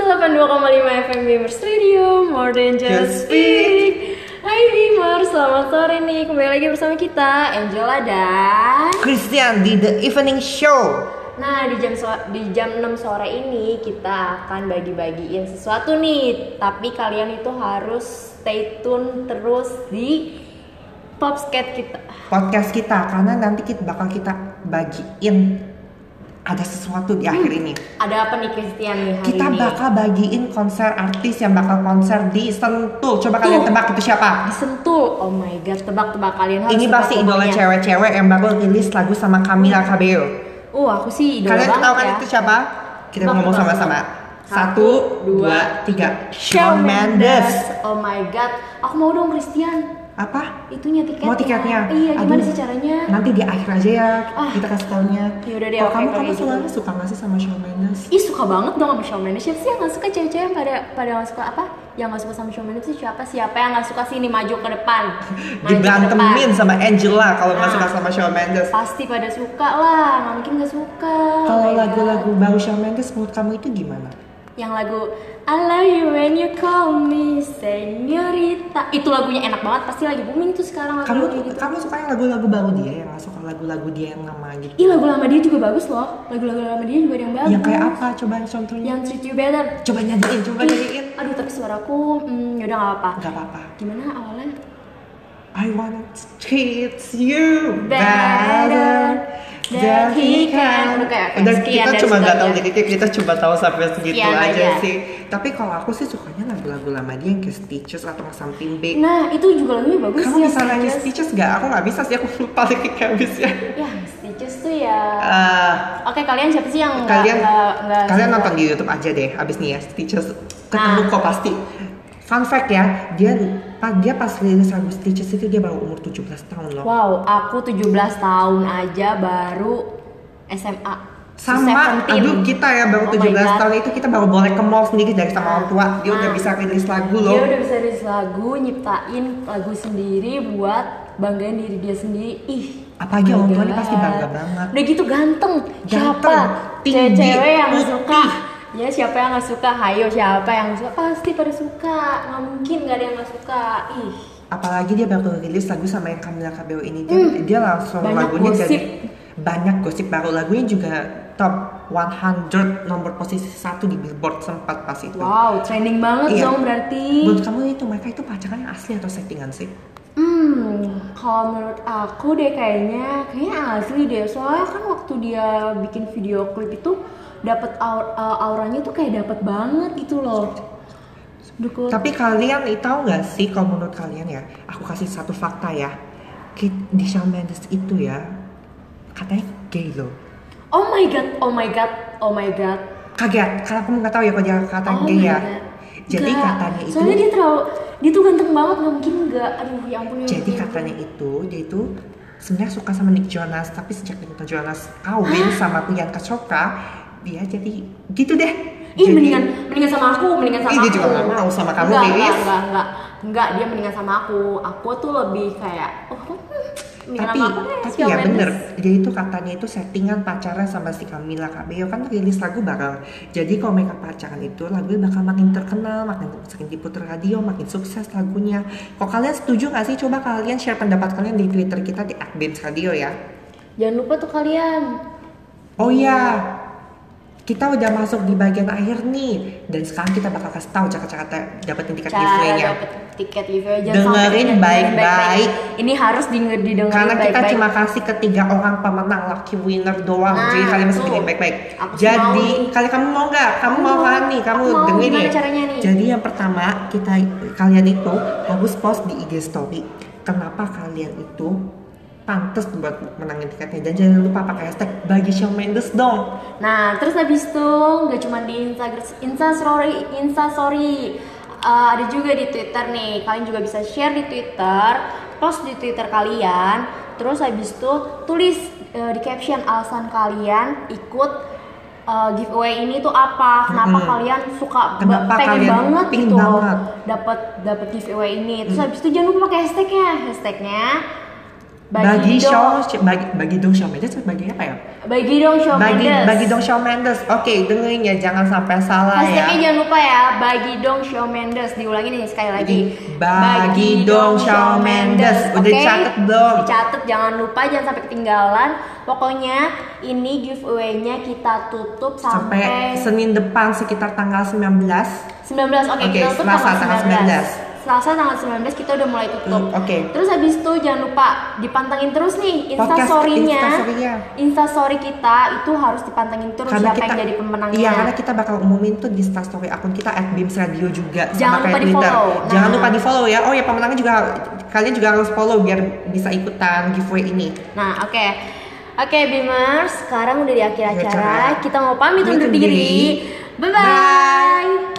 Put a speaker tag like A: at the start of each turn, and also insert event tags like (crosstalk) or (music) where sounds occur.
A: 182,5 FM Beamers Radio More than just
B: Just
A: speak Hai Beamer, selamat sore nih Kembali lagi bersama kita Angela dan
B: Christian di The Evening Show.
A: Nah di jam, so- di jam 6 sore ini kita akan bagi-bagiin sesuatu nih Tapi kalian itu harus stay tune terus di Popscat kita
B: Podcast kita karena nanti kita bakal kita bagiin ada sesuatu di akhir ini.
A: Ada apa nih Christian nih hari
B: Kita
A: Hmm. Oh, ini?
B: bakal bagiin konser artis yang bakal konser di Sentul. Coba kalian
A: Tuh.
B: tebak itu siapa?
A: Disentuh, oh my god tebak-tebak kalian harus
B: Ini
A: tebak
B: pasti idola
A: pokoknya.
B: cewek-cewek yang baru rilis lagu sama Camila Cabello.
A: Uh aku sih idola
B: Kalian
A: banget
B: tahu kan
A: ya
B: itu siapa? Kita
A: Tebak,
B: ngomong
A: tebak,
B: sama-sama.
A: tebak.
B: Satu, dua, tiga. Shawn Mendes.
A: Oh my god, aku mau dong Christian.
B: Apa?
A: Itunya tiketnya.
B: Mau tiketnya?
A: Iya, gimana
B: Aduh.
A: sih caranya?
B: Nanti di akhir aja ya
A: Ah.
B: kita kasih taunya.
A: Yaudah deh,
B: Kalau
A: oke,
B: kamu
A: kalau
B: kamu
A: gitu.
B: sebenarnya suka nggak sih sama Shawn Mendes?
A: Ih suka banget dong sama Shawn Mendes. Siapa sih yang gak suka cewek-cewek yang pada pada gak suka apa? Yang gak suka sama Shawn Mendes sih siapa? Siapa yang gak suka sih ini maju ke
B: (laughs)
A: depan? Maju ke
B: Diberantemin
A: depan.
B: sama Angela kalau nggak
A: Ah.
B: suka sama Shawn Mendes.
A: Pasti pada suka lah, gak mungkin gak suka. Oh my
B: Kalau
A: God. Oh,
B: lagu-lagu baru Shawn Mendes menurut kamu itu gimana?
A: yang lagu I love you when you call me señorita itu lagunya enak banget pasti lagi booming tuh sekarang lagu
B: Kamu
A: kayak gitu.
B: kamu suka yang lagu-lagu baru dia yang nggak suka lagu-lagu dia yang lama gitu?
A: Ih lagu lama dia juga bagus loh. Lagu-lagu lama dia juga ada yang bagus.
B: Yang kayak apa? Coba contohnya.
A: Yang Treat You Better.
B: Coba nyanyiin, coba
A: Ih,
B: nyanyiin.
A: Aduh tapi suaraku hmm, yaudah nggak apa-apa.
B: Gak apa-apa.
A: Gimana awalnya?
B: I wanna treat you
A: Better
B: better
A: than
B: than
A: he
B: he
A: can.
B: can.
A: Oke, oke,
B: Udah
A: sekian dari
B: kita
A: Iya,
B: cuma nggak tahu
A: sebelumnya.
B: jadi kita cuma tahu sampai segitu
A: Sekian
B: aja,
A: aja.
B: sih. Tapi kalau aku sih sukanya lagu-lagu lama dia yang kayak Stitches atau Something Big.
A: Nah itu juga lagunya bagus
B: Kamu
A: ya,
B: bisa nyanyi
A: Stitches.
B: Stitches nggak? Aku nggak bisa sih, aku lupa lirik habisnya.
A: Ya Stitches tuh ya.
B: Eh,
A: Oke kalian siapa sih yang nggak-
B: kalian
A: nggak- nggak Nah.
B: kalian
A: suka?
B: nonton di YouTube aja deh abis nih ya Stitches ketemu kok pasti fun fact ya dia pa- dia pas rilis lagu Stitches itu dia baru umur 17 tahun loh
A: Wow aku 17 tahun aja baru SMA.
B: sama
A: 17.
B: aduh kita ya baru
A: Oh my
B: 17
A: God.
B: tahun itu kita baru boleh ke mall sendiri dari sama orang tua dia udah
A: Ah.
B: bisa rilis lagu
A: Dia
B: loh
A: udah bisa rilis lagu, nyiptain lagu sendiri buat banggain diri dia sendiri. Ih,
B: Apalagi
A: my
B: orang tuanya
A: God.
B: pasti bangga banget.
A: Udah gitu ganteng. siapa?
B: Ganteng, tinggi,
A: Cewek-cewek yang
B: putih.
A: suka. Ya siapa yang nggak suka? Hayo siapa yang suka? Pasti pada suka. Nggak mungkin nggak ada yang nggak suka. Ih,
B: apalagi dia baru rilis lagu sama yang Camila Cabello ini dia, dia langsung
A: Hmm. Banyak
B: lagunya
A: gosip.
B: jadi banyak gosip baru lagunya juga top 100 nomor posisi satu di Billboard sempat pas itu
A: wow, trending banget
B: Iya.
A: dong berarti.
B: Menurut kamu itu mereka itu pacarannya asli atau settingan sih?
A: Hmm, kalau menurut aku deh kayaknya kayaknya asli deh. Soalnya kan waktu dia bikin video klip itu dapat aur- uh, auranya tuh kayak dapat banget gitu loh. Dukul.
B: Tapi kalian eh, tahu nggak sih kalau menurut kalian ya, aku kasih satu fakta ya. Ki- Di Shawn Mendes itu ya katanya gay loh.
A: Oh my god, oh my god, oh my god.
B: Kaget karena aku nggak tahu ya kalau dia katanya
A: Oh my
B: gay ya.
A: god.
B: Jadi
A: Nggak.
B: katanya itu
A: Soalnya dia terlalu dia tuh ganteng banget nggak mungkin nggak. Aduh, ya ampun. ya
B: jadi
A: ampun.
B: katanya itu dia itu sebenarnya suka sama Nick Jonas tapi sejak Nick Jonas kawin sama Priyanka Chopra dia jadi gitu deh.
A: Ih
B: Jadi-
A: mendingan mendingan sama aku, mendingan sama
B: Ih,
A: aku.
B: dia juga nggak mau sama kamu,
A: enggak,
B: Lilis.
A: enggak, enggak, enggak, enggak, dia mendingan sama aku. Aku tuh lebih kayak oh, hmm, mendingan
B: tapi
A: sama aku deh,
B: tapi
A: Shawn
B: ya
A: Mendes.
B: bener jadi itu katanya itu settingan pacaran sama si Camila Cabello kan rilis lagu bareng jadi kalau mereka pacaran itu lagunya bakal makin terkenal makin sering diputer radio makin sukses lagunya kok kalian setuju gak sih coba kalian share pendapat kalian di twitter kita di @bimsradio ya
A: Jangan lupa tuh kalian.
B: oh iya kita udah masuk di bagian akhir nih dan sekarang kita bakal kasih tahu cara-cara dapetin tiket
A: Cara
B: giveaway-nya
A: dapet tiket giveaway jangan
B: Dengerin
A: sampai dengerin
B: baik-baik.
A: Ini harus dinger- didengerin
B: Karena kita
A: baik-baik.
B: cuma kasih ketiga orang pemenang lucky winner doang.
A: Nah,
B: Jadi kalian mesti
A: tuh.
B: dengerin baik-baik.
A: Aku sih
B: Jadi
A: mau nih.
B: kali kamu mau nggak? Kamu
A: Aku
B: mau
A: mau.
B: kan nih? Kamu
A: Aku mau.
B: dengerin
A: Gimana
B: nih.
A: caranya nih?
B: Jadi yang pertama kita kalian itu harus post di IG story. Kenapa kalian itu pantas buat menangin tiketnya dan jangan lupa pakai hashtag bagi Shawn Mendes dong.
A: Nah, terus habis itu nggak cuma di Instagram, Insta Story, Insta Story, Eh, ada juga di Twitter nih. Kalian juga bisa share di Twitter, post di Twitter kalian. Terus habis itu tulis eh, di caption alasan kalian ikut eh, giveaway ini tuh apa? Kenapa
B: Mm-mm.
A: kalian suka ba-
B: Kenapa
A: pengen
B: kalian
A: banget
B: pengen
A: gitu
B: banget. Mm.
A: dapat dapat giveaway ini. Terus habis itu jangan lupa pakai hashtagnya, hashtagnya
B: Bagi,
A: dong-
B: Shawn, bagi, bagi dong Shawn Mendes, bagi apa ya?
A: bagi dong show
B: Bagi,
A: Mendes.
B: bagi dong Shawn Mendes. Oke, dengerin ya, jangan sampai salah ya.
A: Hashtagnya jangan lupa ya, bagi dong Shawn Mendes diulangi nih sekali lagi.
B: Bagi dong Shawn Mendes. Udah
A: Oke?
B: dicatat belum?
A: Dicatat, jangan lupa jangan sampai ketinggalan. Pokoknya ini giveaway-nya kita tutup
B: Sampai
A: sampai,
B: Senin depan sekitar tanggal 19.
A: 19. Oke,
B: Oke,
A: kita tutup
B: Selasa tanggal
A: tanggal 19. Selasa tanggal 19 kita udah mulai tutup.
B: Hmm, oke.
A: Terus habis itu jangan lupa dipantengin terus nih Insta
B: Podcast
A: story-nya.
B: Instastory-nya.
A: Insta story kita itu harus dipantengin terus
B: Karena
A: siapa
B: kita
A: yang jadi pemenangnya.
B: Iya, karena kita bakal umumin tuh di story akun kita at Bims Radio juga
A: Jangan lupa
B: Twitter.
A: di-follow.
B: Jangan
A: Nah.
B: lupa di-follow ya. Oh ya, pemenangnya juga kalian juga harus follow biar bisa ikutan giveaway ini.
A: Nah, oke. Oke, Bimers, sekarang udah di akhir
B: Akhir
A: acara.
B: acara.
A: Kita mau pamit
B: Undur
A: undur
B: diri.
A: diri. Bye-bye.
B: Bye.